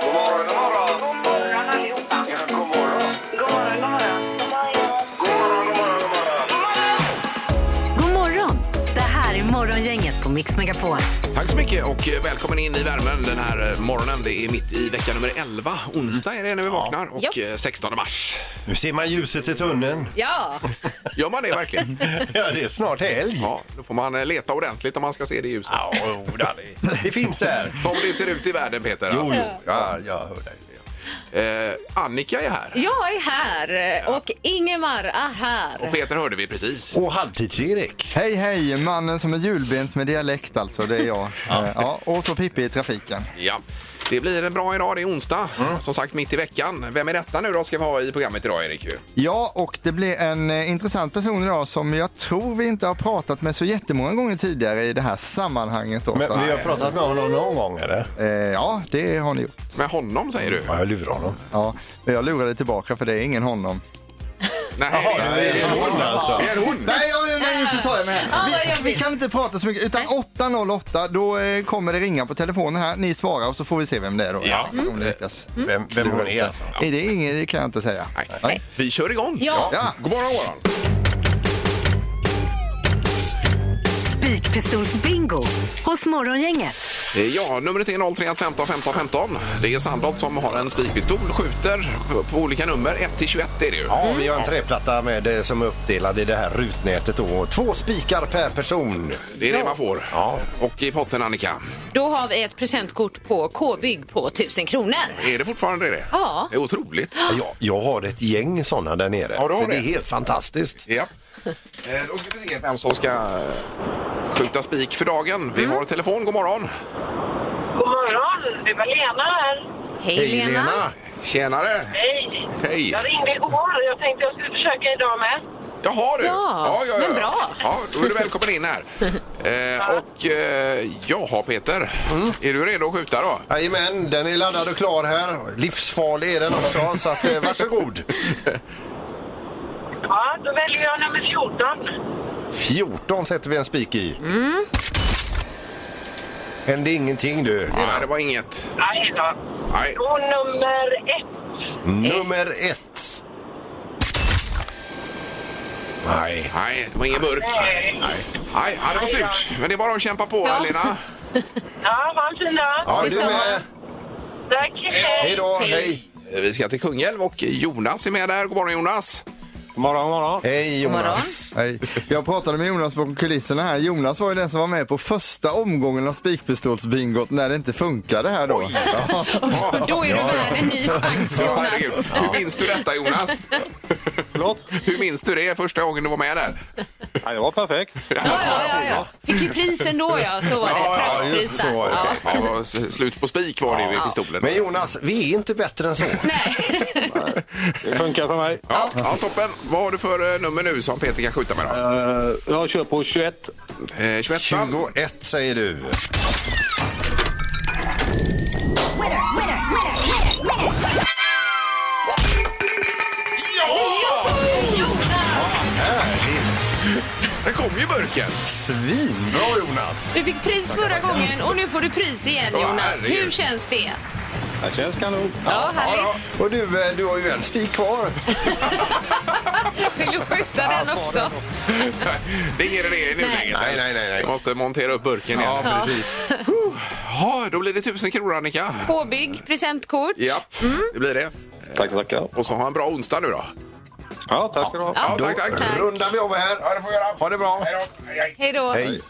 God morgon, god morgon. God morgon allihopa. Ja, god morgon. God morgon, god morgon. God morgon, god morgon, God god morgon. morgon! Det här är Morgongänget på Mix Megapol. Tack så mycket och eh, välkommen in i värmen den här eh, morgonen. Det är mitt i vecka nummer 11. Onsdag är det när vi vaknar och Ja. eh, 16 mars. Nu ser man ljuset i tunneln. Ja, Gör man det verkligen? Ja, det är snart helg. Ja, då får man eh, leta ordentligt om man ska se det ljuset. Ja, jo, det är- det finns där. Som det ser ut i världen, Peter. Jo, jo. Ja, jag hör dig. Eh, Annika är här. jag är här och Ingemar är Och här. Peter hörde vi precis. Och halvtids-Erik. Hej hej, mannen som är julbent med dialekt alltså, det är jag. Eh, ja, och så Pippi i trafiken. Ja. Det blir en bra idag, det är onsdag. Som sagt, mitt i veckan. Vem är detta nu då ska vi ha i programmet idag, Erik? ju? Ja, och det blir en eh, intressant person idag som jag tror vi inte har pratat med så jättemånga gånger tidigare i det här sammanhanget. Då, så Men vi här. har pratat med honom någon gång, eller? Eh, ja, det har ni gjort. Med honom, säger du? Ja, jag lurar honom. Ja, men jag lurade tillbaka för det är ingen honom. Nej, är det hon alltså? det är hon. Nej, jag, nej nu försade jag mig Ja, vad här. Vi, vi jobbigt. kan inte prata så mycket, utan 808 då eh, kommer det ringa på telefonen här. Ni svarar och så får vi se vem det är då. Ja. Om det lyckas. Vem, vem hon är alltså? Nej, det är ingen, det kan jag inte säga. Nej. Vi kör igång. Ja. Ja. God morgon, god morgon. Spikpistolsbingo hos Morgongänget. Eh, Ja, numret är 031 15 15 15. Det är Sandholt som har en spikpistol, skjuter på- på olika nummer. 1 till 21 är det ju. Ja, vi har en träplatta med, eh, som är uppdelad i det här rutnätet. Då. Två spikar per person. Det är det man får. Ja. Och i potten, Annika, Då har vi ett presentkort på K-bygg på 1000 kronor. är det fortfarande det? Ja. Det är otroligt. Jag, jag har ett gäng sådana där nere. Ja, du har så det det. är helt fantastiskt. Ja. Eh, Då ska vi se vem som ska eh, skjuta spik för dagen. Vi Mm. har telefon. God morgon! God morgon. Det var Lena här. Hej, Lena. Tjenare! Hej. Hej! Jag ringde igår och jag tänkte jag skulle försöka idag med. Jaha du! Ja, men bra. Ja, då är du välkommen in här. Eh, och eh, jaha Peter, Mm. är du redo att skjuta då? Jajamän, den är laddad och klar här. Livsfarlig är den också, så att, eh, varsågod. Ja, då väljer jag nummer 14. 14 sätter vi en spik i. Hände ingenting du. Nej, det var inget. Nej då. Nej. Då nummer 1. Nummer ett. Nej. Nej, det var ingen burk. Nej. Nej, Nej ja, det var surt. Men det är bara att kämpa på, Ja. Lena. Ja, ha en fin dag. Ja, du Detsamma. med. Tack. Hej Hej. då, Hej. hej. Eh, Vi ska till Kungälv och Jonas är med där. God morgon, Jonas. Hej Jonas. Nej. Jag pratade med Jonas bakom kulisserna här. Jonas var ju den som var med på första omgången av spikpistolsbingot när det inte funkade här då. Ja. Och då är du värd en ny chans, Ja, Jonas. herregud. Hur minns du detta, Jonas? Förlåt? Hur minns du det första gången du var med där? Nej, det var perfekt. Ja, ja, ja, ja. Fick ju prisen då, ja. Så var det. ja, Tröstpris just så där. var det. Ja. Ja, det var s- slut på spik var det ju i pistolen. Men Jonas, vi är inte bättre än så. Nej. Det funkar för mig. Ja, ja, toppen. Vad har du för eh, nummer nu som Peter kan skjuta med då? Eh, Jag kör på 21. Eh, 21 21 säger du. Jonas, Härligt. Det kom ju burken! Svinbra Jonas. du fick pris förra gången och nu får du pris igen, Ja, Jonas. herregud. Hur känns det? Det känns kanon. Ja, härligt. Och du, eh, du har ju en spik kvar. Vill du skjuta den också? Det är ingen idé i nuläget. Nej, nej, nej, nej. Jag måste montera upp burken igen. Ja, precis. då blir det tusen kronor, Annika. Påbygg, presentkort. Japp, det blir det. Tack, tackar. Och så ha en bra onsdag nu då. Ja, tack ska du ha. Ja, Då tack, tack. rundar vi av här. Ja, det får jag göra. Ha det bra. Hej då. Hej.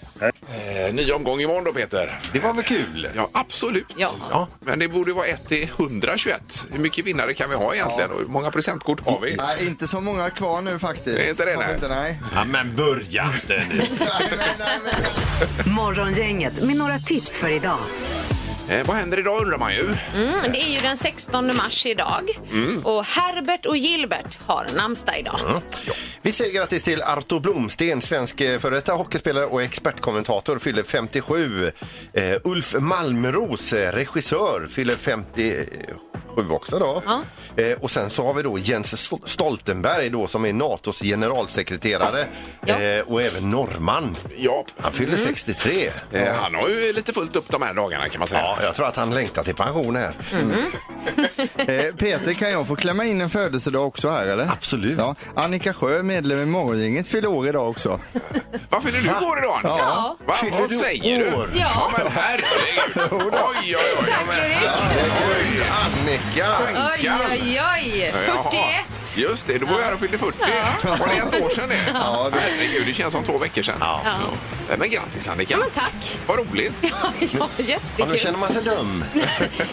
Eh, ny omgång imorgon då, Peter. Det var väl kul? Ja, absolut. Ja. Ja. Men det borde vara 1 till 121. Hur mycket vinnare kan vi ha egentligen? Och hur många presentkort har vi? Nej, inte så många kvar nu faktiskt. Det är inte det, Har vi nej. Inte, nej. Ja, men börja inte nu. nej, nej, nej, nej. Morgongänget med några tips för idag. Eh, vad händer idag undrar man ju. Mm, det är ju den 16 mars idag. Och Herbert och Gilbert har namnsdag idag. Vi säger grattis till Arto Blomsten, svensk eh, före detta hockeyspelare och expertkommentator, fyller 57. Eh, Ulf Malmros, eh, regissör, fyller 57 sju också då. Ja. Eh, och sen så har vi då Jens Stoltenberg då som är NATOs generalsekreterare Ja. Mm. eh, och även norrman. Ja, Han fyller 63. eh, Eh, han har ju lite fullt upp de här dagarna kan man säga. ja, jag tror att han längtar till pension här. Mm. Eh, Peter, kan jag få klämma in en födelsedag också här eller? Absolut. Ja. Annika Sjö, medlem i Morgongänget, fyller år idag också. Vad fyller du år idag Annika? Ja. Va, Fyller vad du säger år? du? Ja. men herregud. Oj, oj, oj. Ja, men, herregud. Annika! Oj, oj, oj. Jaha. 41. Just det, då var jag här och fyllde 40. Var det ett år sedan det? Ja, det... Herregud, det känns som två veckor sedan. Ja. Men grattis Annika. Ja, men tack. Vad roligt. Ja, ja Ja, nu jättekul. känner man sig dum.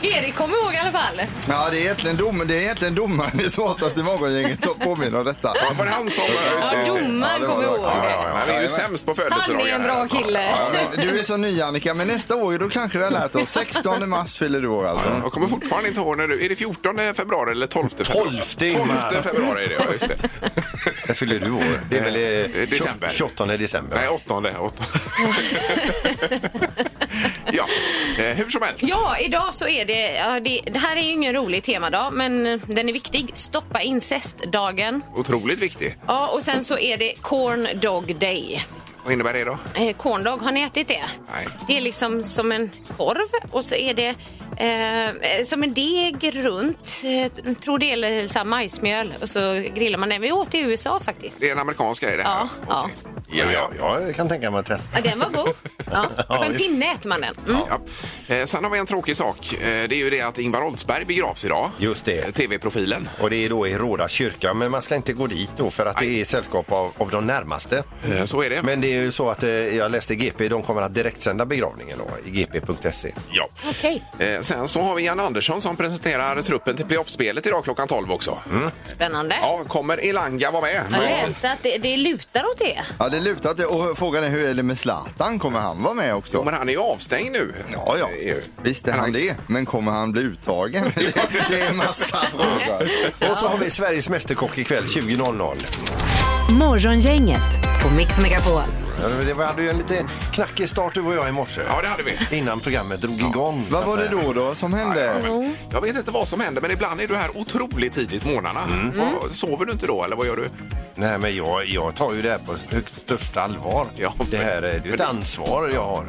Erik kommer ihåg i alla fall. Ja, det är egentligen, dom, det är egentligen domaren i Smartast i Morgongänget som påminner om detta. Ja, Var det han som... Ja, Ja, Ja, domaren det var kommer det. ihåg. ja, ja. Han är ju sämst på Han födelsedagar. är en här, bra alltså. kille. Ja, men Du är så ny Annika, men nästa år då kanske vi har lärt oss. 16 mars fyller du år alltså. Jag kommer fortfarande inte ihåg när du... Är det 14 februari eller 12 februari? 12. 12 februari är det, ja just det. När fyller du år? Det är väl eh, Eh, december. 28 december. Nej, 8. 8. ja, eh, hur som helst. Ja, idag så är det, ja, det... Det här är ju ingen rolig temadag, men eh, den är viktig. Stoppa incestdagen. Otroligt viktig. Ja, och sen så är det corn dog day. Vad innebär det då? Eh, corndog, har ni ätit det? Nej. Det är liksom som en korv och så är det eh, som en deg runt. Eh, tror det är så här majsmjöl och så grillar man den. Vi åt i USA faktiskt. Det är en amerikansk grej det här? Ja, ja. Ja, ja, ja. Jag kan tänka mig att testa. Ja, den var god. Ja. På en visst. pinne äter man den. Mm. Ja. Eh, Sen har vi en tråkig sak. Eh, Det är ju det att Ingvar Oldsberg begravs idag. Just det. Eh, TV-profilen. Och det är då i Råda kyrka, men man ska inte gå dit då för att det är sällskap av, av de närmaste. Eh, Så är det. Men det är ju så att eh, jag läste i GP, de kommer att direktsända begravningen då, i gp.se. Ja. Okej, Eh, Sen så har vi Jan Andersson som presenterar truppen till playoffspelet idag klockan 12 också. spännande. Ja, kommer Elanga vara med? Jag läste att det, det lutar åt det. Ja, det lutar att det, och frågan är hur är det med Zlatan? Kommer han vara med Jo, också? men han är ju avstängd nu. Ja, ja. Det är ju- Visst är han det, men kommer han bli uttagen? Det- Det är en massa frågor. Och så har vi Sveriges Mästerkock ikväll 20.00. Morgongänget på Mix Megapol. Ja, det- Vi hade ju en lite knackig start du och jag i morse. Ja, det hade vi. Innan programmet drog igång. så Vad att var det säga. då då som hände? Jag vet inte vad som händer, men ibland är du här otroligt tidigt på morgnarna. Mm. Vad- Sover du inte då, eller vad gör du? Nej, men jag, jag tar ju det här på högst största allvar. Ja, det här är det är men- ett ansvar jag har.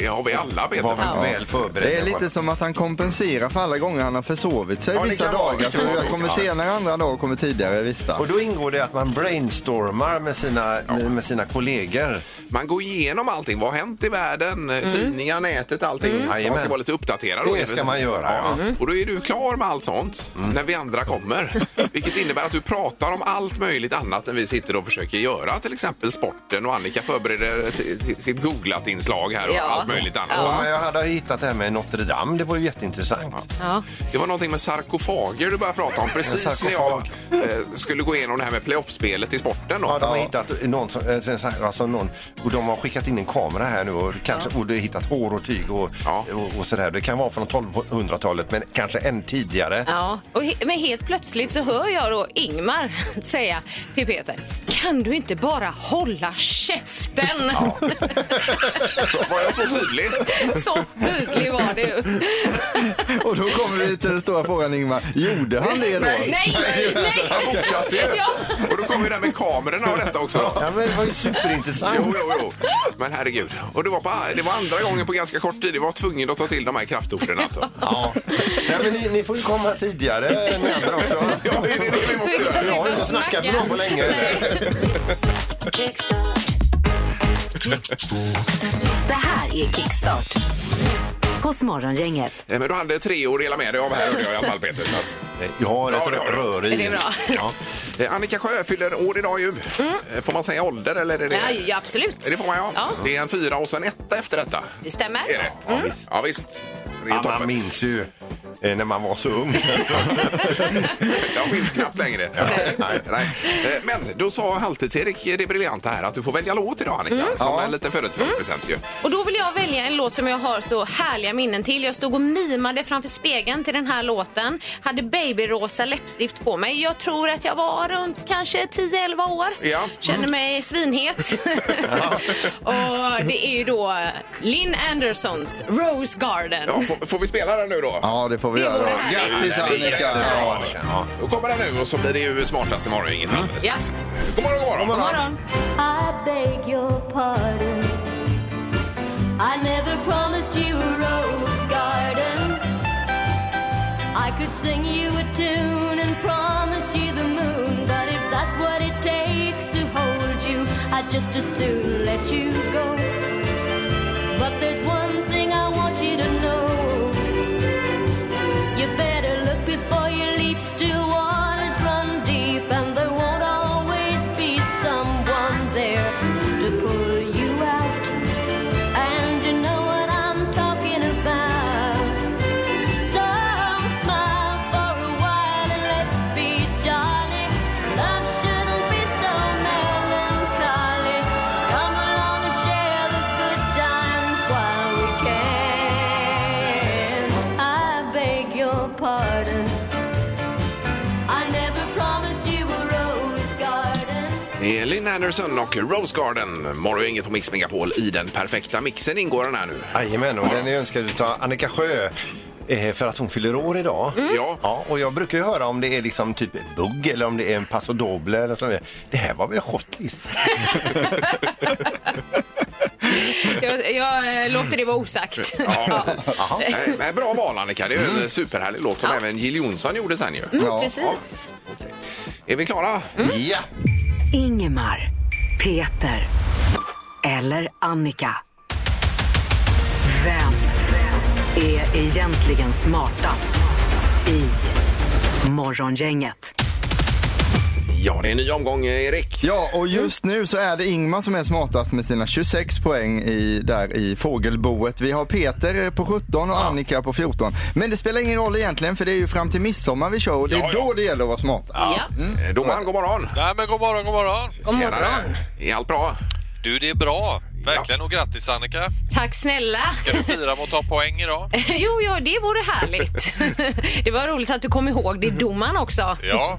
Det har vi alla, Peter. Var väl förberedd. Det är lite som att han kompenserar för alla gånger han har försovit sig Ja, det vissa kan vara- dagar. det Så kan vara jag så. kommer Ja. senare andra dagar och kommer tidigare vissa. Och då ingår det att man brainstormar med sina, med, med sina kollegor. Man går igenom allting. Vad har hänt i världen? Tidningar, nätet, allting. Så Man ska Jajamän. vara lite uppdaterad. Det och- ska man göra, ja. Mm. Och då är du klar med allt sånt när vi andra kommer. Vilket innebär att du pratar om allt möjligt annat än vi sitter och försöker göra. Till exempel sporten och Annika förbereder si- si- sitt googlat-inslag här och Ja. allt möjligt annat. Ja. men jag hade hittat det här med Notre Dame, det var ju jätteintressant. Ja. Det var någonting med sarkofager du började prata om precis när jag sarkofag. eh, skulle gå igenom det här med playoffspelet i sporten. Då. Ja, de har hittat någon, som, eh, sen så här, alltså någon och de har skickat in en kamera här nu och kanske och de har hittat hår och tyg och, Ja. och, och sådär. Det kan vara från 1200-talet men kanske än tidigare. Ja, och he- men helt plötsligt så hör jag då Ingmar säga till Peter, kan du inte bara hålla käften? Så var jag så tydlig? Så tydlig var du. Och då kommer vi till den stora frågan Ingmar. Gjorde han det då? Nej, nej, Han fortsatte ju. Ja. Och då kommer ju det här med kamerorna och detta också. Då. Ja, men det var ju superintressant. Jo, jo, jo. Men herregud. Och det var, på, det var andra gången på ganska kort tid. Det var tvungen att ta till de här kraftorden alltså. Ja. Nej, men ni, ni får ju komma tidigare än ni andra också. Ja, det är det vi måste göra. Jag har inte snackat med någon på länge. Det här är Kickstart hos Morgongänget. Eh, Men du hade tre år att dela med dig av här hörde jag i alla fall Peter. Så att, Jag har ett Ja, det har du. rör i. Är det bra? Ja. eh, Annika Sjö fyller år idag ju. Eh, Får man säga ålder eller? Är det... Mm. nej. Ja, absolut. Det får man ja. Ja. Det är en fyra och sen etta efter detta. Det stämmer. Är det? Ja, visst. Ja, visst. Det är Ja, man toppen. minns ju eh, när man var så ung. Jag minns knappt längre. Nej. Nej. Eh, Men då sa Halvtids-Erik det briljanta här att du får välja låt idag Annika. Som en liten födelsedagspresent ju. Och då vill jag välja en låt som jag har så härliga minnen till. Jag stod och mimade framför spegeln till den här låten. Hade babyrosa läppstift på mig. Jag tror att jag var runt kanske 10-11 år. Ja. Kände mig svinhet. och det är ju då Lynn Andersons Rose Garden. Ja, får Får, får vi spela den nu då? Ja, det får vi Det göra. vore då. härligt. Grattis Det är Annika! jättebra. Ja. Ja. Då kommer den nu och så blir det ju smartast i morgon. Inget alldeles Ja. strax. God morgon, god God morgon. morgon. I beg your pardon. I never promised you a rose garden. I could sing you a tune and promise you the moon, but if that's what it takes to hold you, I'd just as soon let you go. But there's one thing I want you to know. You better look before you leap. Still waters run deep, and there won't always be someone there to pull you out. And you know what I'm talking about. So smile for a while and let's be jolly. Love shouldn't be so melancholy. Come along and share the good times while we can. I beg your pardon. I never promised you a rose garden. Det är Lynn Anderson och Rose Garden. Morgon inget på Mix Megapol. I den perfekta mixen ingår den här nu. Jajamän, och den är önskad utav Annika Sjö eh, för att hon fyller år idag. Ja. Ja, och jag brukar ju höra om det är liksom typ bugg eller om det är en paso doble eller sånt där. Det här var väl schottis? Jag, jag eh, låter det vara osagt. Ja, precis. Nej, men bra val Annika. Det är ju en superhärlig låt som även Jill Johnson gjorde sen ju. Ja. Precis. Är vi klara? Mm. Eh, Ja! Ingemar, Peter eller Annika. Vem är egentligen smartast i Morgongänget? Ja, det är en ny omgång Erik. Ja, och just nu så är det Ingmar som är smartast med sina 26 poäng i, där i fågelboet. Vi har Peter på 17 och Annika på 14. Men det spelar ingen roll egentligen för det är ju fram till midsommar vi kör och det är Ja, ja. då det gäller att vara smartast. Ja. Eh, Domaren, god morgon. Nej men god morgon, god morgon. God morgon. Tjenare. Är allt bra? Du det är bra. Verkligen och grattis Annika. Tack snälla. Ska du fira med att ta poäng idag? Jo, ja, det vore härligt. Det var roligt att du kom ihåg det domaren också. Ja.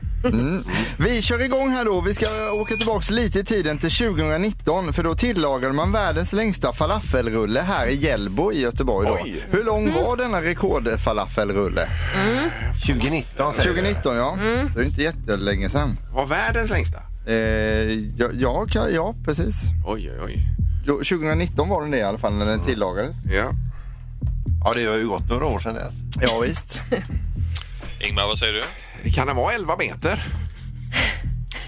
Vi kör igång här då. Vi ska åka tillbaks lite i tiden till 2019 för då tillagade man världens längsta falafelrulle här i Hjällbo i Göteborg. Då. Oj. Hur lång var denna rekordfalafelrulle? 2019 säger Mm. du. 2019 ja. Det är inte jättelänge sedan. Var världens längsta? Eh, ja, ja, ka- ja, precis. Oj, oj, oj. Jo, 2019 var den det i alla fall när den tillagades. Ja. Ja, det har ju gått några år sedan dess. Ja, visst. Ingmar, vad säger du? Kan den vara 11 meter?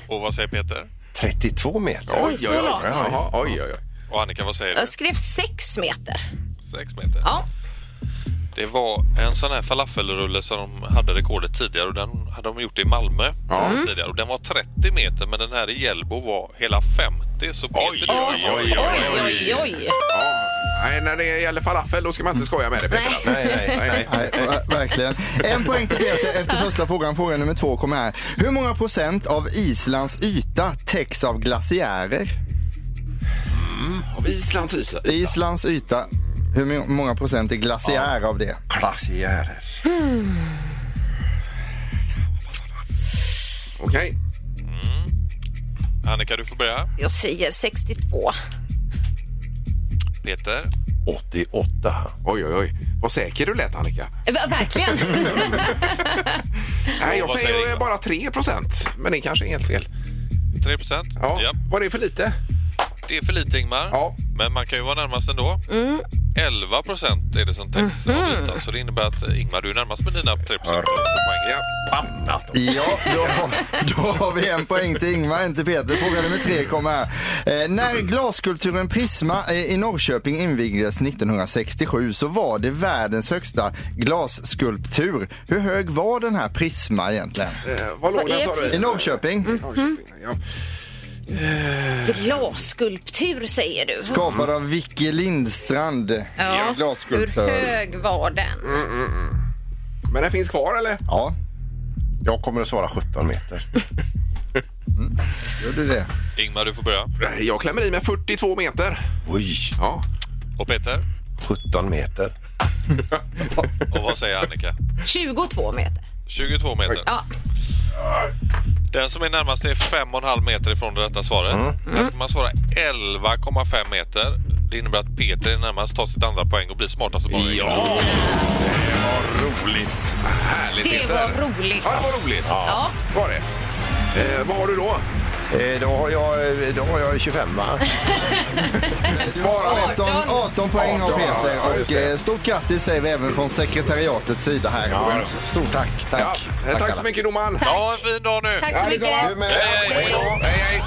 Och vad säger Peter? 32 meter. Oj, oj, oj. Jaha, oj, oj, oj. Och Annika, vad säger Jag du? skrev sex meter. Sex meter. Ja. Det var en sån här falafelrulle som de hade rekordet tidigare och den hade de gjort i Malmö. Ja. Mm. Tidigare. Och den var 30 meter men den här i Hjällbo var hela 50. Så Peter, Oj, du har oj, ju- oj, oj. Oj, oj, oj. Ja. Nej, när det gäller falafel då ska man inte Mm. skoja med det Peter. Nej. Nej, nej, nej. Nej, ver- verkligen. En poäng till Peter efter första frågan. Fråga nummer två kommer här. Hur många procent av Islands yta täcks av glaciärer? Av Islands isa. Islands yta, hur my- många procent är glaciär av det? Glaciärer. Okej. Annika, du får börja. Jag säger 62. Peter? 88. Oj, oj, oj. Vad säker du lät Annika. Eh, va- Verkligen. Nej, jag vad säger säger Ingmar? bara 3 procent. Men det kanske är helt fel. 3 procent? Ja. Var det för lite? Det är för lite Ingmar. Ja. Men man kan ju vara närmast ändå. Mm. 11 procent är det som täcks Mhm. av ytan. Så det innebär att eh, Ingmar, du är närmast med dina 3 procent. Ja. Bannat. Ja, då, då har vi en poäng till Ingmar, en till Peter. Fråga nummer tre kommer här. Eh, när glaskulturen Prisma eh, i Norrköping invigdes 1967 så var det världens högsta glasskulptur. Hur hög var den här Prisma egentligen? Eh, Vad låg den sa du? I Norrköping Mm. Norrköping, Ja. Glasskulptur säger du. skapad av Vicky Lindstrand. Ja. Hur Glasskulptör. hög var den? Men den finns kvar eller? Ja, Jag kommer att svara 17 meter. gör du det? Ingmar, du får börja. Jag klämmer i med 42 meter. Oj, Ja. Och Peter? 17 meter. Och vad säger Annika? 22 meter. 22 meter. Ja. Den som är Mm. närmast är 5,5 meter ifrån det rätta svaret. Där ska man svara 11,5 meter. Det innebär att Peter är närmast, tar sitt andra poäng och blir smartast och bara Ja! Det var roligt. Härligt, Det Peter. var roligt. Ja, det var roligt. Ja. Var det. Eh, vad har du då? Eh, Då har jag, då har jag 25 va? Bara 18, 18 poäng har 18, ja, Peter. ja, just Och det. eh, stort grattis säger vi även från sekretariatets sida här. Ja, stort tack. Ja, tack. eh, tack så alla. mycket, domaren. Ja, en fin dag nu! Tack så mycket. Du med. Hej då. Hej, hej.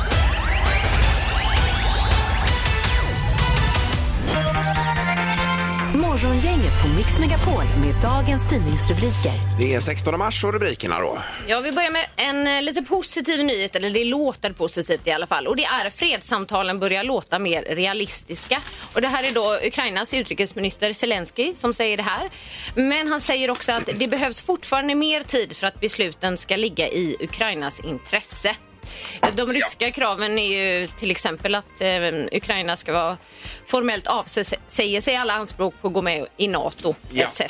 Morgongänget på Mix Megapol med dagens tidningsrubriker. Det är 16 mars och rubrikerna då. Ja, vi börjar med en eh, lite positiv nyhet, eller det låter positivt i alla fall. Och det är fredssamtalen börjar låta mer realistiska. Och det här är då Ukrainas utrikesminister Zelensky som säger det här. Men han säger också att det behövs fortfarande mer tid för att besluten ska ligga i Ukrainas intresse. De ryska kraven är ju till exempel att eh, Ukraina ska vara formellt avsäger sig alla anspråk på att gå med i NATO Ja. etc.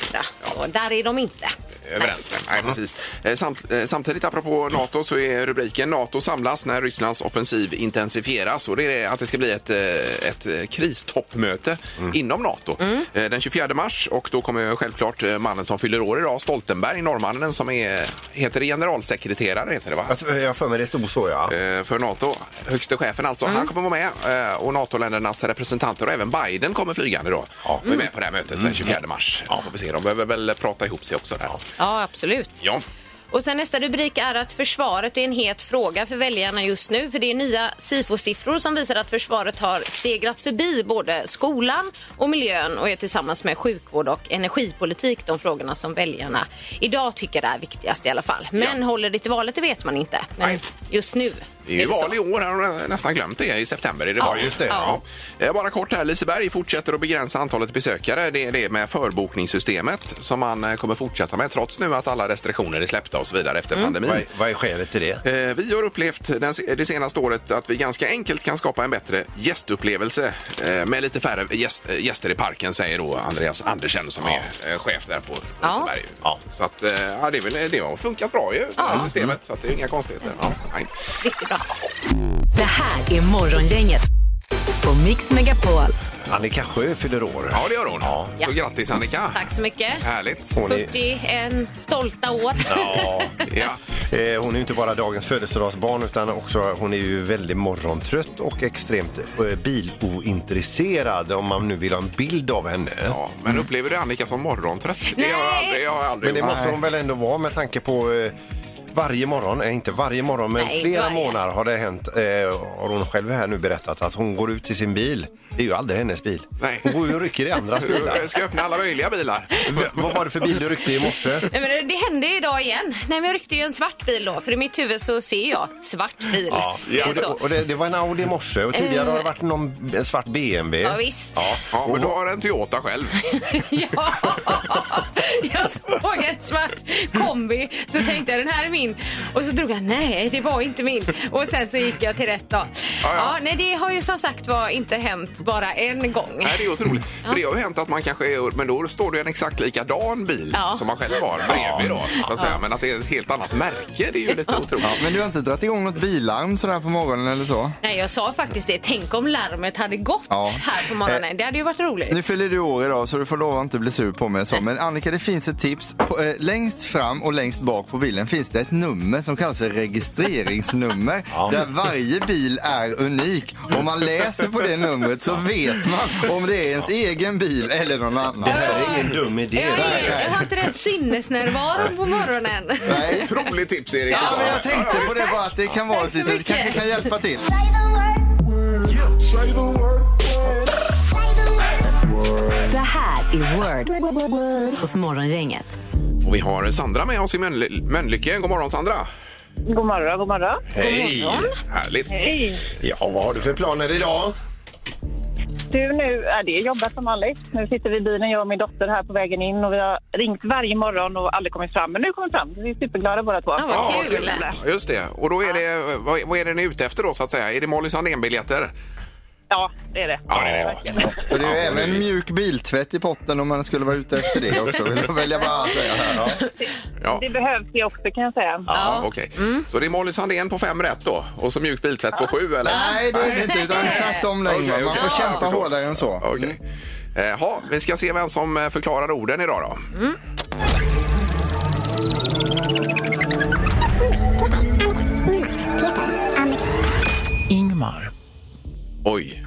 Så där är de inte. överens med. Nej, precis. Eh, Samt, eh, samtidigt, apropå Nato, så är rubriken Nato samlas när Rysslands offensiv intensifieras. Och det är att det ska bli ett, eh, ett eh, kristoppmöte inom Nato Eh, den 24 mars. Och då kommer självklart eh, mannen som fyller år idag, Stoltenberg, norrmannen som är, heter det generalsekreterare, heter det va? Jag- Jag för mig det stod så ja. Eh, för Nato, högste chefen alltså. Han kommer vara med eh, och NATO-ländernas representanter och även Biden kommer flygande då. Och är med på det här mötet den 24 mars. Ja. Får vi se, de behöver väl prata ihop sig också där. Ja, absolut. Ja. Och sen nästa rubrik är att försvaret är en het fråga för väljarna just nu. För det är nya SIFO-siffror som visar att försvaret har segrat förbi både skolan och miljön och är tillsammans med sjukvård och energipolitik de frågorna som väljarna idag tycker är viktigast i alla fall. Men Ja. håller det till valet, det vet man inte. Men Nej. just nu Det är ju så. val i år, jag har nästan glömt det. I september är det val. just det, Ja. Eh, Bara kort här, Liseberg fortsätter att begränsa antalet besökare. Det är det med förbokningssystemet som man eh, kommer fortsätta med trots nu att alla restriktioner är släppta och så vidare efter pandemin. Vad är, vad är skälet till det? Eh, Vi har upplevt den, se- det senaste året att vi ganska enkelt kan skapa en bättre gästupplevelse eh, med lite färre gäst, eh, gäster i parken, säger då Andreas Andersen som är eh, chef där på Ja. Liseberg. Ja. Så att, eh, ja, det, är väl, det har funkat bra ju, det här systemet, så att det är inga konstigheter. Ja, nej. Riktigt bra. Det här är Morgongänget på Mix Megapol. Annika Sjö fyller år. Ja, det gör hon. Så grattis Annika. Tack så mycket. Härligt. Hon är, 41 stolta år. ja. Ja. Eh, hon är ju inte bara dagens födelsedagsbarn utan också hon är ju väldigt morgontrött och extremt eh, bilointresserad om man nu vill ha en bild av henne. Ja, men upplever du Annika som morgontrött? Det har jag Nej. aldrig, jag har aldrig Men det gjort. måste hon väl ändå vara med tanke på eh, varje morgon, eh, inte varje morgon men Nej, flera varje. månader har det hänt, eh, har hon själv här nu berättat, att hon går ut i sin bil. Det är ju aldrig hennes bil. Nej. Hon går ju och rycker i andras bilar. Jag ska öppna alla möjliga bilar. V- Vad var det för bil du ryckte i morse? Nej, men det hände idag igen. Nej, men jag ryckte ju en svart bil då, för i mitt huvud så ser jag svart bil. Det är Och det, så. och det, det var en Audi i morse och tidigare har det varit någon en svart BMW. Ja, visst. Ja. Ja, men du har en Toyota själv. Jag såg ett svart kombi, så tänkte jag den här är min. Och så drog jag, nej det var inte min. Och sen så gick jag till rätt då. Ja, ja. nej, det har ju som sagt var inte hänt bara en gång. Nej, det är otroligt. För det har ju hänt att man kanske är, men då står det en exakt likadan bil Ja. som man själv har bredvid då. Så att säga. Men att det är ett helt annat märke, det är ju lite otroligt. Men du har inte dragit igång något bilarm sådär på morgonen eller så? Nej, jag sa faktiskt det. Tänk om larmet hade gått Ja. här på morgonen. Det hade ju varit roligt. Nu fyller du år idag så du får lova att inte bli sur på mig så. Men Annika det finns ett tips. På, eh, längst fram och längst bak på bilen finns det ett nummer som kallas för registreringsnummer. Där varje bil är unik. Om man läser på det numret så vet man om det är ens egen bil eller någon annan. Det här är ingen dum idé. Jag, Nej. är, jag har inte den sinnesnärvaron på morgonen. Nej. Otroligt tips, Erik. Ja, men jag tänkte på det bara att det kan vara Tack så lite, det kanske mycket. kan hjälpa till. Det här är Word hos Morgongänget. Och vi har Sandra med oss i Mölnly- Mölnlycke. God morgon, Sandra. God morgon, god morgon. Hej! Härligt. Ja, vad har du för planer idag? Du, nu är det jobbet som vanligt. Nu sitter vi i bilen, jag och min dotter, här på vägen in och vi har ringt varje morgon och aldrig kommit fram. Men nu kommer vi fram. Vi är superglada båda två. Ja, vad Ja, kul. Just det. Och då är det, vad, vad är det ni är ute efter då så att säga? Är det Molly Sandén-biljetter? Ja, det är det. Ja, det är det. För det är ju Ja, det är- även mjuk biltvätt i potten om man skulle vara ute efter det också. Vill jag välja bara att säga här. Ja. Ja, Det behövs det också kan jag säga. ja, okej. Mm. Så det är Molly Sandén på fem rätt då och så mjuk biltvätt på sju eller? Nej, det är det inte. Utan tvärtom längre. Okej, Man okej. får kämpa Ja, hårdare än så. Okej. Eh, Ja, vi ska se vem som eh, förklarar orden idag då. Mm. Ingmar. Oj,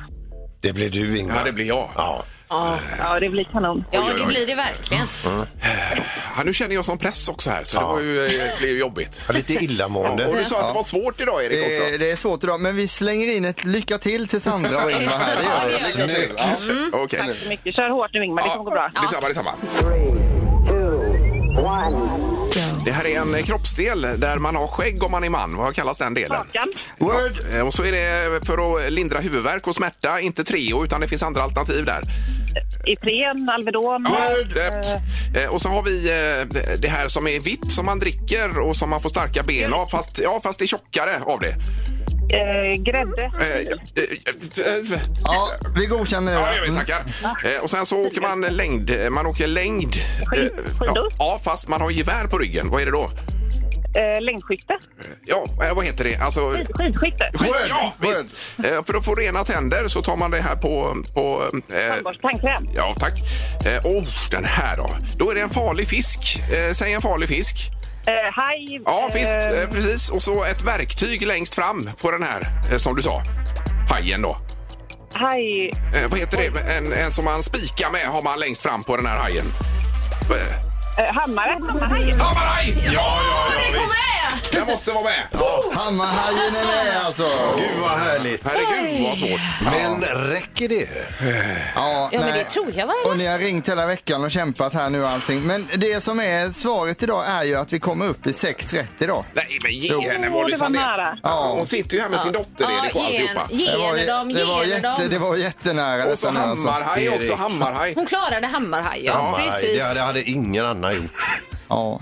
Det blir du, Ingmar. ja det blir jag. Ja. Ja, det blir kanon. Ja, Oj, oj, oj. det blir det verkligen. Ja, nu känner jag som press också här så det var ju, eh, blev ju jobbigt. Ja, Lite illamående. Och du sa att det var svårt idag Erik också. Eh, Eh, Det, det är svårt idag, men vi slänger in ett lycka till till Sandra och Ingmar här. Det gör vi. Snyggt! Okej. Mm. Tack så mycket. Kör hårt nu Ingmar, det kommer gå bra. Detsamma, detsamma. Det här är en eh, kroppsdel där man har skägg om man är man. Vad kallas den delen? Hakan. Word! Eh, Och så är det för att lindra huvudvärk och smärta, inte Treo utan det finns andra alternativ där. Ipren, Alvedon. Eh, Och så har vi eh, det här som är vitt som man dricker och som man får starka ben av fast, ja, fast det är tjockare av det. Eh, grädde. Eh, eh, eh, eh, Ja, vi godkänner det. Ja, jag vet, tackar. Eh, Och sen så åker man längd. eh, Man åker längd. Skid- Eh, skidor? Ja, fast man har gevär på ryggen. Vad är det då? Eh, längdskytte. Ja, eh, vad heter det? Alltså... Skid- Skidskytte. Skid, ja, visst. Eh, För att få rena tänder så tar man det här på... på eh, Tandborste, Tandkräm. ja, tack. Eh, oh, den här då. Då är det en farlig fisk. Eh, säg en farlig fisk. Eh, Haj. Ja, eh, visst. Eh, precis. Och så ett verktyg längst fram på den här, eh, som du sa. Hajen då. Haj. Eh, vad heter det? En, en som man spikar med har man längst fram på den här hajen. Eh, Eh, hammare. Hammarhaj. Hammarhaj! Ja, ja, ja, det kommer visst. Den måste vara med. Mm. Hammarhajen är med alltså. Gud, vad härligt. Herregud, vad svårt. Men räcker det? Ja, Ja, men nej. det tror jag va? Och ni har ringt hela veckan och kämpat här nu och allting. Men det som är svaret idag är ju att vi kommer upp i sex rätt idag. Nej, men ge henne Åh, vad det var nära. Ja, hon sitter ju här med sin dotter Erik och ge alltihopa. en- ge Det var, henne dem, det var, ge henne jätte, det dem. var jättenära Och så detta nu alltså. hammarhaj också, hammarhaj. Hon klarade hammarhaj, ja. Hammarhaj, precis. Det, det hade ingen annan gjort, Ja.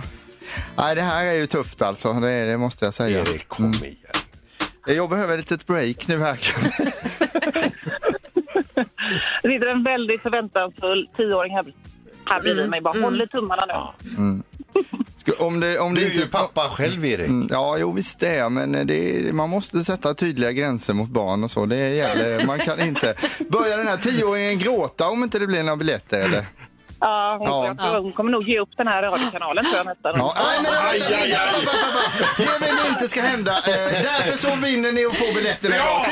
Nej, det här är ju tufft alltså. Det, är- det måste jag säga. Erik. Kom igen. Jag behöver ett litet break nu här. Det sitter en väldigt förväntansfull tioåring här, här bredvid mig. Bara håller tummarna nu. Ska- Om det, om det Du är ju inte... pappa själv, Erik. Mm, Ja, jo visst det är, men eh, det, man måste sätta tydliga gränser mot barn och så. Det gäller, man kan inte... Börjar den här tioåringen gråta om inte det blir några biljetter eller? Ja, hon, Ja. jag tror hon kommer nog ge upp den här radiokanalen tror jag nästan. Ja, nej, men vänta, vänta, vänta, vänta, vänta. Det vill vi inte ska hända. Eh, därför så vinner ni och får biljetterna. Ja!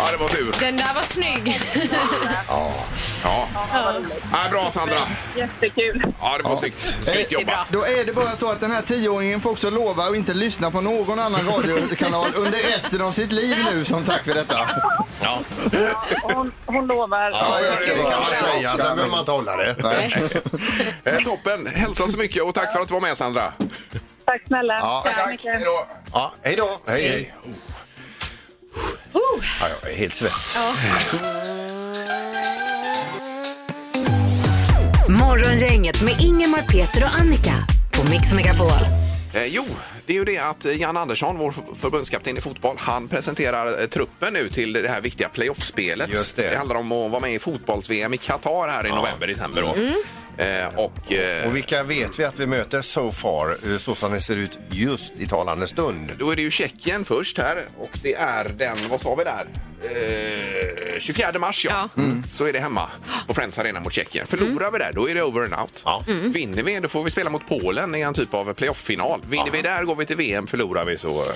Ja, det var tur. Den där var snygg. Ja. Ja, bra Sandra. Jättekul. Ja, det var snyggt. Snyggt jobbat. Då är det bara så att den här tioåringen får också lova att inte lyssna på någon annan radiokanal under resten av sitt liv nu som tack för detta. Hon, hon lovar. Ja, ja, det kan man säga. Sen behöver man inte hålla det. Eh, Toppen. Hälsa så mycket och tack för att du var med Sandra. Tack snälla. Ja, Tack så Tack. mycket. Hej då. Ja, hej då. Hej, hej. Oh. Ja, jag är helt svett. Morgongänget med Ingemar, Peter och Annika på Mix Megapol. Eh, jo, det är ju det att Jan Andersson, vår f- förbundskapten i fotboll, han presenterar eh, truppen nu till det här viktiga playoffspelet. Just det. handlar om att vara med i fotbolls-VM i Qatar här i november, december. Då. Mm. Eh, och, eh, Och vilka vet vi att vi möter so far, eh, så som det ser ut just i talande stund? då är det ju Tjeckien först här och det är den, vad sa vi där? Eh, 24 mars ja. Mm. Så är det hemma på Friends Arena mot Tjeckien. Förlorar Mm. vi där, då är det over and out. Ja. Vinner vi, då får vi spela mot Polen i en typ av playoff-final. Vinner vi där går vi till VM, förlorar vi så är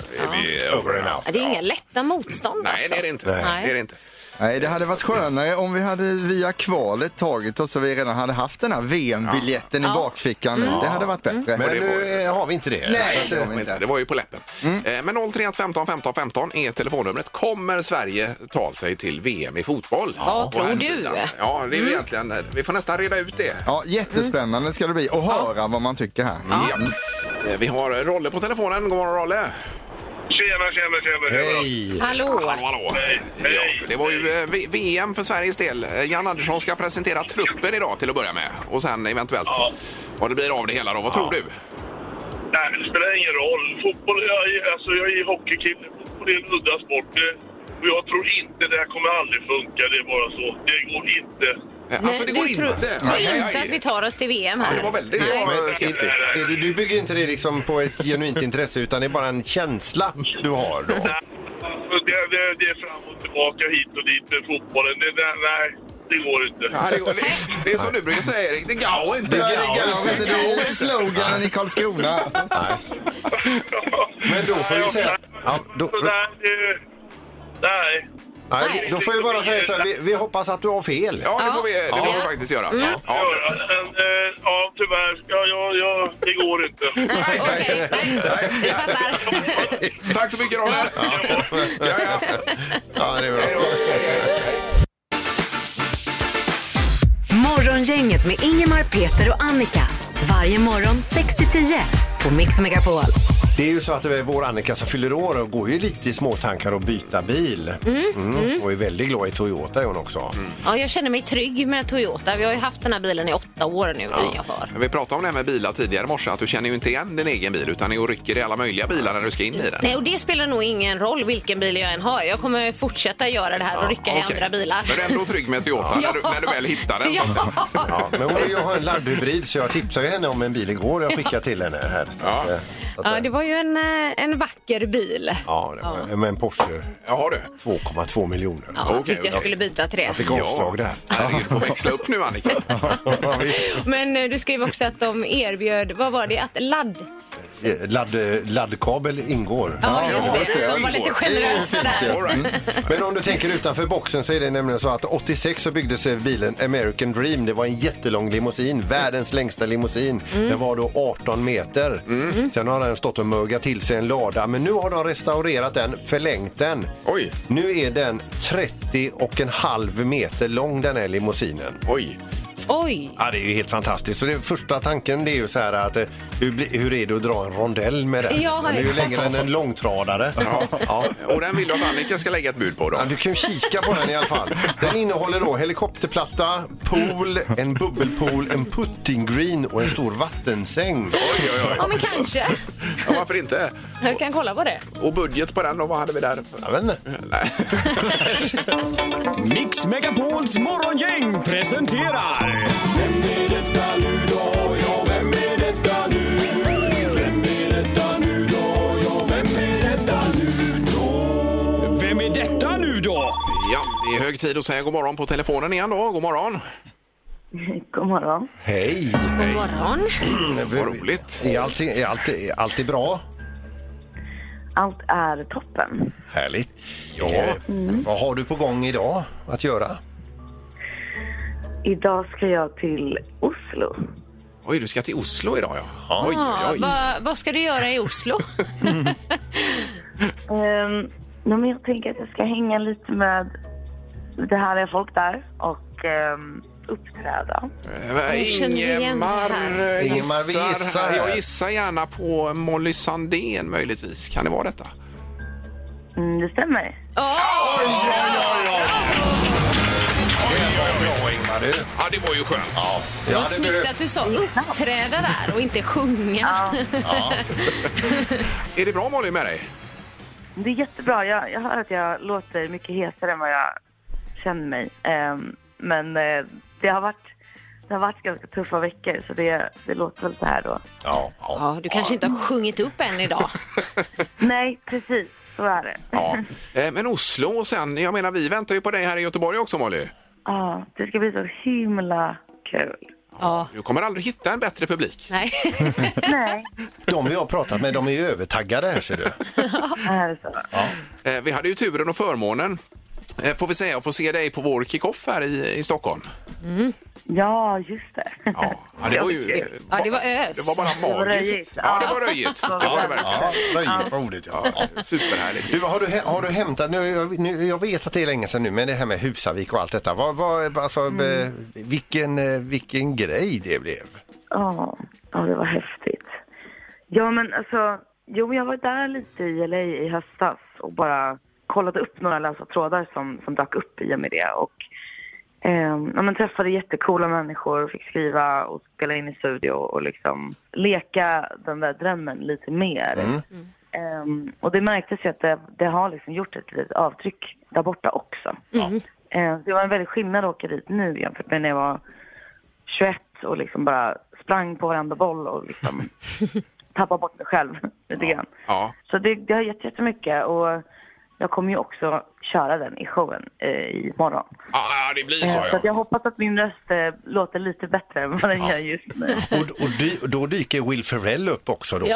vi over and out. Ja, Det är inga lätta motstånd Nej, alltså. det är det inte. Nej. Det är det inte. Nej, det hade varit skönare om vi hade via kvalet tagit oss så vi redan hade haft den här VM-biljetten i bakfickan. nu. Det hade varit bättre. Men det var- nu eh, har vi inte det. Nej, det har vi Men inte. Det var ju på läppen. Eh, Men 031 15 15 15 är telefonnumret. Kommer Sverige ta sig till VM i fotboll? Vad På tror här du? sidan. Ja, det är ju egentligen... eh, Vi får nästan reda ut det. Ja, jättespännande ska det bli att höra vad man tycker här. Ja. Eh, Vi har Rolle på telefonen. God morgon, Rolle. Tjena, tjena, tjena. tjena. Hej! Hallå! Hallå, hallå. hej. Ja, det var ju eh, V- VM för Sveriges del. Eh, Jan Andersson ska presentera truppen idag till att börja med och sen eventuellt Ja. vad det blir av det hela då. Vad tror du? Eh, Nej, men det spelar ingen roll. Fotboll, jag är, alltså, jag är hockeykille. Fotboll är en udda sport. Det- Och jag tror inte det här kommer aldrig funka. Det är bara så. Det går inte. Eh, Alltså det Nej, går du tror- inte. tror inte att vi tar oss till VM här. Ja, eh, det var väldigt Nej. bra. Men, är, är, du- du bygger inte det liksom på ett genuint intresse utan det är bara en känsla du har då? Nej, alltså, det, det, det är fram och tillbaka hit och dit med fotbollen. Det, det, nej, det går inte. Ja, det, går, det, det är som du brukar säga Erik, det går inte. Det är sloganen i Karlskrona. Men då får vi säga- Ja, då- Så där, det, nej. Nej, då får vi bara säga så här, vi, vi hoppas att du har fel. Ja, det Ja. får vi, det Ja. får vi faktiskt göra. Ja. Ja. Göra. Men, eh, ja, tyvärr. Ja, ja, ja, det går inte. Nej, Okej, nej. Vi fattar. Tack så mycket Ronny. Ja, ja. Ja, det är bra. Morgongänget med Ingemar, Peter och Annika. Varje morgon 6 till 10 på Mix Megapol. Det är ju så att det är vår Annika som fyller år och går ju lite i småtankar att byta bil. Mm, Och är väldigt glad i Toyota är hon också. Mm. Ja, jag känner mig trygg med Toyota. Vi har ju haft den här bilen i åtta år nu. den Jag har. Vi pratade om det här med bilar tidigare i morse, att du känner ju inte igen din egen bil utan du rycker i alla möjliga bilar när du ska in i den. Nej, och det spelar nog ingen roll vilken bil jag än har. Jag kommer fortsätta göra det här och rycka i Okej. andra bilar. Men du är ändå trygg med Toyota när, du, när du väl hittar den. Ja. Ja, men hon vill ju ha en laddhybrid så jag tipsade ju henne om en bil igår jag skickade till henne här. Så att, Ja. eh, så att, ja, det var ju en, eh, en vacker bil. ja, det var, men en Porsche Jaha du. 2,2 miljoner. Ja, jag okej, tyckte jag okej. skulle byta till det. Jag fick avslag där. Herregud, får växla upp nu Annika. Men eh, du skrev också att de erbjöd, vad var det, att ladd... Eh, Ladd, laddkabel ingår. Ja, just det. just det. De var lite generösa där. All Mm. right. Men om du tänker utanför boxen så är det nämligen så att 86 så byggdes eh, bilen American Dream. Det var en jättelång limousin, världens längsta limousin. Den var då 18 meter. Mm. Sen har den stått och muggat till sig en lada, men nu har de restaurerat den, förlängt den. Oj. Nu är den 30 och en halv meter lång den här limousinen. Oj. Oj! Ja, det är ju helt fantastiskt. Så det första tanken det är ju så här att eh, hur, bli- hur är det att dra en rondell med den? Ja, den är ju exakt. längre än en långtradare. Ja. Och den vill du att Annika ska lägga ett bud på då? Ja, du kan ju kika på den i alla fall. Den innehåller då helikopterplatta, pool, en bubbelpool, en putting green och en stor vattensäng. Oj, oj, oj. Ja, men kanske. Ja, varför inte? Jag kan kolla på det. Och budget på den då, vad hade vi där? Jag vet inte. Nej. Mix Megapols morgongäng presenterar... Vem är detta nu då? Ja, vem är detta nu? Vem är detta nu då? Ja, vem är detta nu då? Vem är detta nu då? Eh, Ja, det är hög tid att säga god morgon på telefonen igen då. God morgon. God morgon. Hej! God morgon. Vad roligt. Är allt, är allt, är allt är bra? Allt är toppen. Härligt. Ja. Eh, Vad har du på gång idag att göra? Idag ska jag till Oslo. Oj, du ska till Oslo idag ja. Oj, Ja, oj, oj. vad, vad ska du göra i Oslo? Um, men jag tänker att jag ska hänga lite med det här är folk där och ehm, uppträda. Eh, känner igen det Ingemar här. eh, Ingemar, vi gissar. Jag gissar gärna på Molly Sandén möjligtvis. Kan det vara detta? Mm, det stämmer. Bra Ingmar du. Ja, det var ju skönt. Ja. Jag Vad hade snyggt behövt- att du sa uppträda där och inte sjunga. Är det bra Molly med dig? Det är jättebra. Jag, jag hör att jag låter mycket hetare än vad jag känner mig. Ehm, men eh, det, har varit, det har varit ganska tuffa veckor så det, det låter väl så här då. Ja, ja. Ja, du kanske inte har sjungit upp än idag. Nej, precis. Så är det. Ja. Eh, Men Oslo och sen, jag menar vi väntar ju på dig här i Göteborg också Molly. Ja, det ska bli så himla kul. Ja. Du kommer aldrig hitta en bättre publik. Nej. Nej, De vi har pratat med de är ju övertaggade här ser du. är det så? Eh, Vi hade ju turen och förmånen, eh, får vi säga, att få se dig på vår kickoff här i, i Stockholm. Ja, just det. Ja, ja det var ju... Ja, det var ös. Det var bara Det var magiskt. röjigt. Ja, det var röjigt. Det var det verkligen. Ja, röjigt vad ordet ja. Ja, Superhärligt. Du, har, du, hä- har du hämtat, nu, jag- nu, jag vet att det är länge sedan nu, men det här med Husavik och allt detta. Vad, vad, alltså, eh, vilken, eh, vilken grej det blev. Ja, ja, det var häftigt. Ja, men alltså, jo, jag var där lite i LA i höstas och bara kollade upp några lösa trådar som, som dök upp i och med det. Och eh, ja, men träffade jättecoola människor och fick skriva och spela in i studio och liksom leka den där drömmen lite mer. Ehm, och det märktes ju att det, det har liksom gjort ett litet avtryck där borta också. Eh, Det var en väldig skillnad att åka dit nu jämfört med när jag var 21 och liksom bara sprang på varenda boll och liksom tappade bort mig själv lite grann. Ja. Så det, det har gett jättemycket och jag kommer ju också köra den i showen eh, i morgon. Ja, det blir så Eh, så ja. att jag hoppas att min röst eh, låter lite bättre än vad den gör just nu. Och, och dy, då dyker Will Ferrell upp också då.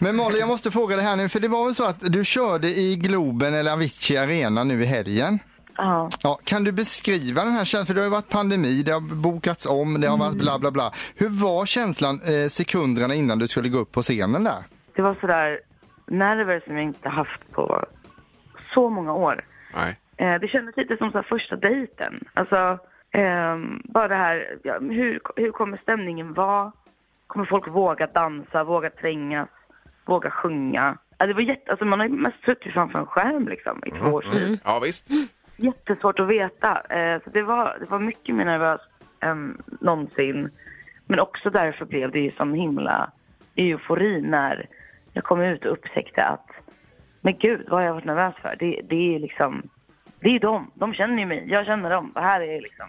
Men Molly, jag måste fråga det här nu, för det var väl så att du körde i Globen eller Avicii Arena nu i helgen? Ja. Ja, kan du beskriva den här känslan? För det har ju varit pandemi, det har bokats om, det har varit bla bla bla. Hur var känslan eh, sekunderna innan du skulle gå upp på scenen där? Det var sådär nerver som jag inte haft på så många år. Nej. Eh, det kändes lite som så här första dejten. Alltså, ehm, bara det här, ja, hur, hur kommer stämningen vara? Kommer folk våga dansa, våga trängas, våga sjunga? Ja, det var jätte, alltså man har ju mest suttit framför en skärm liksom, i två års tid. Ja, visst. Jättesvårt att veta. Eh, så det, var, det var mycket mer nervöst än någonsin. Men också därför blev det ju som himla eufori när jag kom ut och upptäckte att men gud, vad har jag varit nervös för? Det, det är liksom, det är dem. De känner ju mig. Jag känner dem. Det här är liksom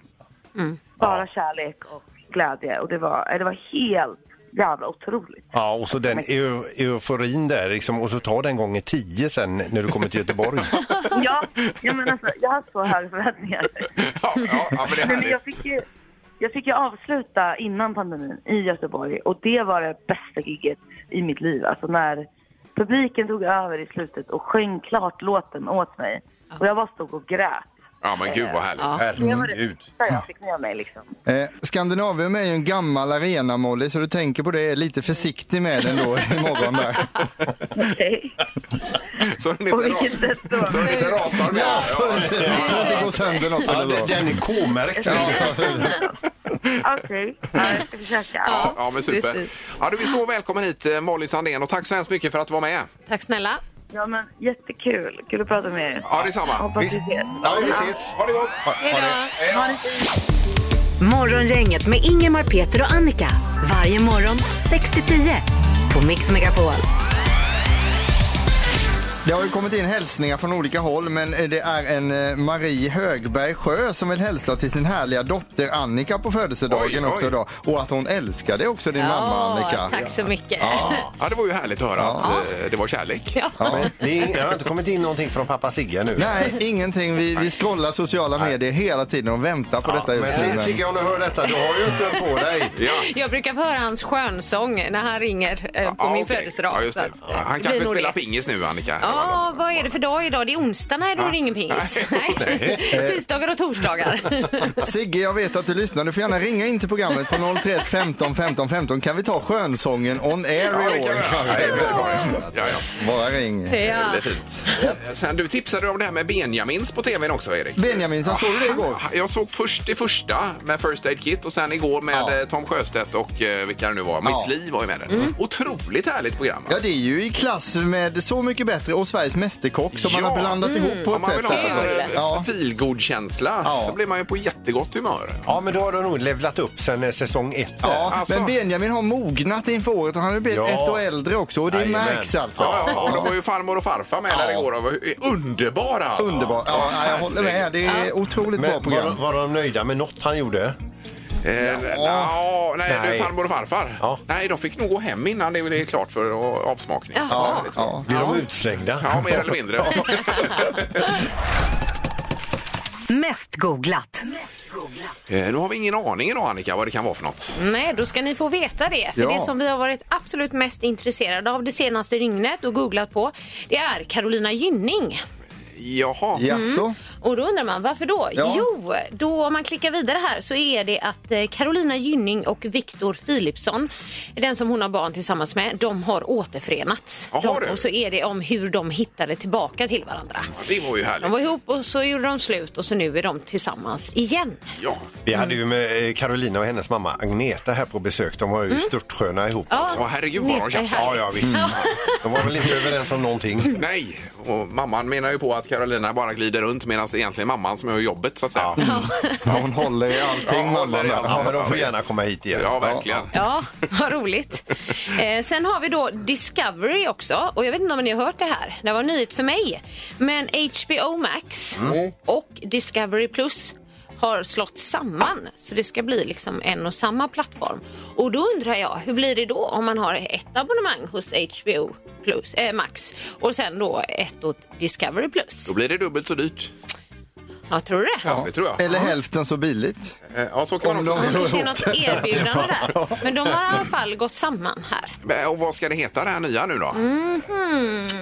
bara kärlek och glädje. Och det var, eh, det var helt jävla otroligt. Ja, och så den eu, euforin där liksom, och så tar den gånger tio sen när du kommer till Göteborg. Ja, jag, men alltså, jag har så höga förväntningar. Ja, ja, ja, men det är Nej, men jag, härligt. fick ju, jag fick ju avsluta innan pandemin i Göteborg och det var det bästa giget i mitt liv. Alltså när publiken tog över i slutet och sjöng klart låten åt mig. Och jag bara stod och grät. Ja, men gud vad härligt. Det var det bästa jag fick med mig liksom. Eh, Skandinavium är ju en gammal arena Molly, så du tänker på det, är lite försiktig med den då imorgon där. Okej. Så den På inte, vilket ra- sätt då? så den inte rasar med. Ja, Så så det inte går sönder något Ja, eller den, något. den är K-märkt. Okej, ja, jag ska försöka. Ja, ja, men super. precis. Ja, du är så välkommen hit eh, Molly Sandén och tack så hemskt mycket för att du var med. Tack snälla. Ja, men jättekul. Kul att prata med er. Ja, detsamma. Hoppas vi ses. Ja, vi ses. Ha det gott. Hej då. Morgongänget med Ingemar, Peter och Annika. Varje morgon 6 till 10 på Mix Megapol. Det har ju kommit in hälsningar från olika håll, men eh, det är en eh, Marie Högberg Sjö som vill hälsa till sin härliga dotter Annika på födelsedagen Oj, oj. också idag. Och att hon älskar dig också, din mamma Annika. tack så mycket. Ja, det var ju härligt att höra att eh, det var kärlek. Men det är, ing- det har inte kommit in någonting från pappa Sigge nu. Nej, ingenting. Vi, vi scrollar sociala medier hela tiden och väntar på detta Men just nu. Sig- Sigge, om du hör detta, du har ju en stund på dig. Ja. Jag brukar få höra hans skönsång när han ringer eh, på Ja, min okej. födelsedag. Ja, just så det. att, eh, Ja, Han blir kanske nog spelar det. pingis nu, Annika. Ja, vad är det för dag idag? Det är onsdag. Nej, då är det ingen pingis. Nej. Tisdagar och torsdagar. Sigge, jag vet att du lyssnar. Du får gärna ringa in till programmet på 031 15 15 15. Kan vi ta skönsången on air Ja, det kan i år? jag göra. Ja, det blir bra, ja. Ja, ja. Bara ring. Det ja. blir fint. Sen, du tipsade om det här med Benjamins på tvn också, Erik. Benjamin, så såg du det igår? Jag såg först det första med First Aid Kit och sen igår med Ja. Mm. eh, Tom Sjöstedt och eh, vilka det nu var. Miss Li var ju med där. Otroligt härligt program. Ja, det är ju i klass med Så mycket bättre och Sveriges Mästerkock som man Ja. har blandat ihop på Om ett man sätt. vill ha alltså. en eh, Ja. feelgood-känsla Ja. så blir man ju på jättegott humör. Ja, men då har de nog levlat upp sen eh, säsong ett. Ja, Alltså. men Benjamin har mognat inför året och han har blivit Ja. ett och äldre också och det Jajamän. märks alltså. Ja, ja, och de var ju farmor och farfar med där igår. De var ju underbara! alltså. Underbart. Ja, ja, jag håller med. Det är otroligt bra Men var, program. de- var de nöjda med något han gjorde? Eh, ja, nej, Nej. Du, farmor och farfar. Ja. Nej, de fick nog gå hem innan det blev klart för eh, avsmakning. Jaha. Ja. Blev de utslängda? Ja, mer eller mindre. Mest googlat. Eh, nu har vi ingen aning idag Annika vad det kan vara för något. Nej, då ska ni få veta det. För Ja. det som vi har varit absolut mest intresserade av det senaste dygnet och googlat på, det är Carolina Gynning. Jaha. Jaså? Och då undrar man varför då? Ja. Jo, då om man klickar vidare här så är det att eh, Carolina Gynning och Viktor Philipsson, den som hon har barn tillsammans med, de har återförenats. Jaha, de, du. och så är det om hur de hittade tillbaka till varandra. Det var ju härligt. De var ihop och så gjorde de slut och så nu är de tillsammans igen. Ja. Vi hade Mm. ju med eh, Carolina och hennes mamma Agneta här på besök. De var ju störtsköna ihop. Mm. Ja. Så herregud vad de Vet jag tjafsade. här. Ja, ja, visst. De var väl inte överens om någonting. Mm. Nej, och mamman menar ju på att Carolina bara glider runt medan att egentligen mamman som gör jobbet så att säga. Mm. Ja, hon håller i allting, håller i mamman. allt. Ja, men de får gärna komma hit igen. Ja, verkligen. Ja, vad roligt. Eh, sen har vi då Discovery också. Och Jag vet inte om ni har hört det här. Det var nytt för mig. Men HBO Max och Discovery Plus har slått samman så det ska bli liksom en och samma plattform. Och då undrar jag, hur blir det då om man har ett abonnemang hos HBO Plus, eh, Max och sen då ett åt Discovery Plus? Då blir det dubbelt så dyrt. Jag tror du det? Ja, det tror jag. Eller hälften så billigt. Eh, Ja, så kan Om man också de- säga. Kanske är något erbjudande där. Men de har i alla fall gått samman här. Men, Och vad ska det heta det här nya nu då?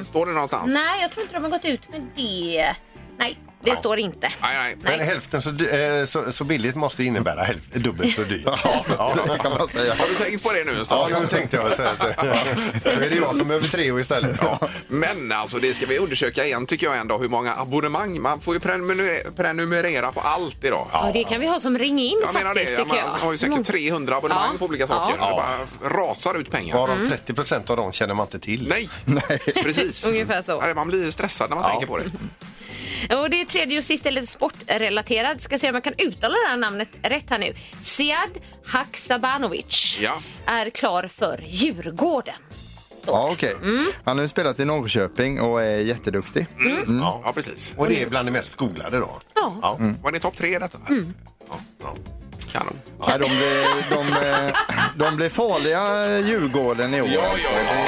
Står det någonstans? Nej, jag tror inte de har gått ut med det. Nej, det står inte. Nej, nej. Nej. Men hälften så, dy- eh, så, så billigt måste innebära hälf- dubbelt så dyrt. Ja, Det kan man säga. Har du tänkt på det nu en Ja, stund? nu tänkte jag säga det. Nu är det jag som behöver Treo istället. Ja. Men alltså det ska vi undersöka igen tycker jag ändå hur många abonnemang. Man får ju prenumer- prenumerera på allt idag. Ja, det kan vi ha som ring in Jag menar det, faktiskt, jag tycker jag. menar, har ju säkert 300 abonnemang Ja. på olika saker. Ja. Det bara rasar ut pengar. Mm. Varav 30 procent av dem känner man inte till. Nej, Nej. precis. Ungefär så. Nej, Man blir stressad när man tänker på det. Och det är tredje och sista är lite sportrelaterad. Ska se om jag kan uttala det här namnet rätt här nu. Siad Haksabanovic Ja. är klar för Djurgården. Ja, okej. Han har ju spelat i Norrköping och är jätteduktig. Ja, precis. Och det är bland de mest skolade då. Ja. Mm. Var det topp tre detta? Mm. Ja, ja. Kanon. Nej, de, blev, de, eh, de blev farliga eh, Djurgården i år. Ja, ja, ja.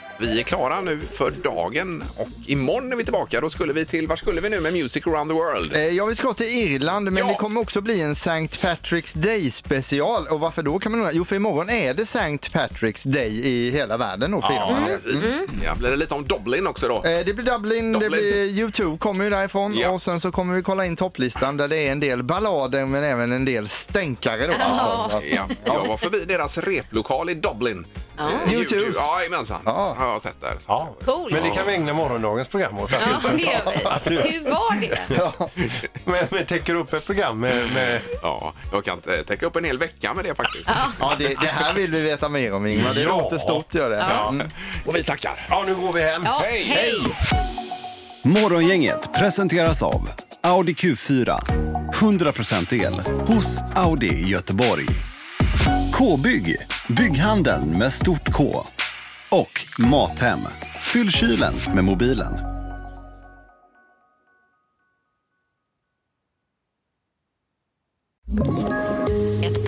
Vi är klara nu för dagen och imorgon är vi tillbaka. Då skulle vi till, var skulle vi nu med Music around the world? Eh, Ja, vi ska till Irland, men Ja. det kommer också bli en St. Patrick's Day special. Och varför då kan man undra? Jo, för imorgon är det St. Patrick's Day i hela världen och firar Mm. man det. Precis. Ja, blir det lite om Dublin också då? Eh, Det blir Dublin, det Dublin. blir YouTube kommer ju därifrån Ja. och sen så kommer vi kolla in topplistan där det är en del ballader men även en del stänkare då. Alltså. Ja, jag var förbi deras replokal i Dublin. Eh, U2s. Ja, jajamensan. Ja. Har jag sett där. Ja. Cool. Men det kan vi ägna morgondagens program åt. Ja, det gör vi. Hur var det? Men, men täcker upp ett program med, med Ja, jag kan eh, täcka upp en hel vecka med det faktiskt. Ja, det, det här vill vi veta mer om Ingmar, det Ja. låter stort gör det. Mm. Och vi tackar. Ja, nu går vi hem. Ja, hej! Morgongänget presenteras av Audi Q4. 100% el hos Audi i Göteborg. K-bygg, bygghandeln med stort K. Och Mathem, fyll kylen med mobilen. Ett